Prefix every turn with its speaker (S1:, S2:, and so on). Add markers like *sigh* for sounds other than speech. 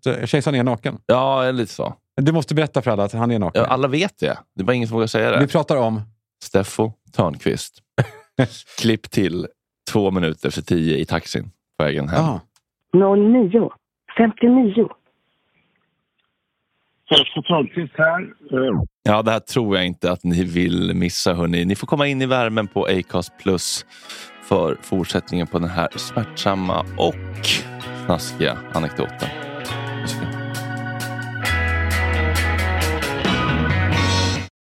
S1: Så kejsaren är naken.
S2: Ja, lite så.
S1: Du måste berätta för alla att han är naken.
S2: Ja, alla vet det. Det är bara ingen som vågar säga det.
S1: Vi pratar om...
S2: Steffo Törnqvist. *laughs* Klipp till två minuter för tio i taxin på vägen hem.
S1: Ah,
S3: 09 59.
S4: Steffo Törnqvist här. Eh,
S2: Ja, det här tror jag inte att ni vill missa. Hörrni. Ni får komma in i värmen på Acast Plus för fortsättningen på den här smärtsamma och snaskiga anekdoten.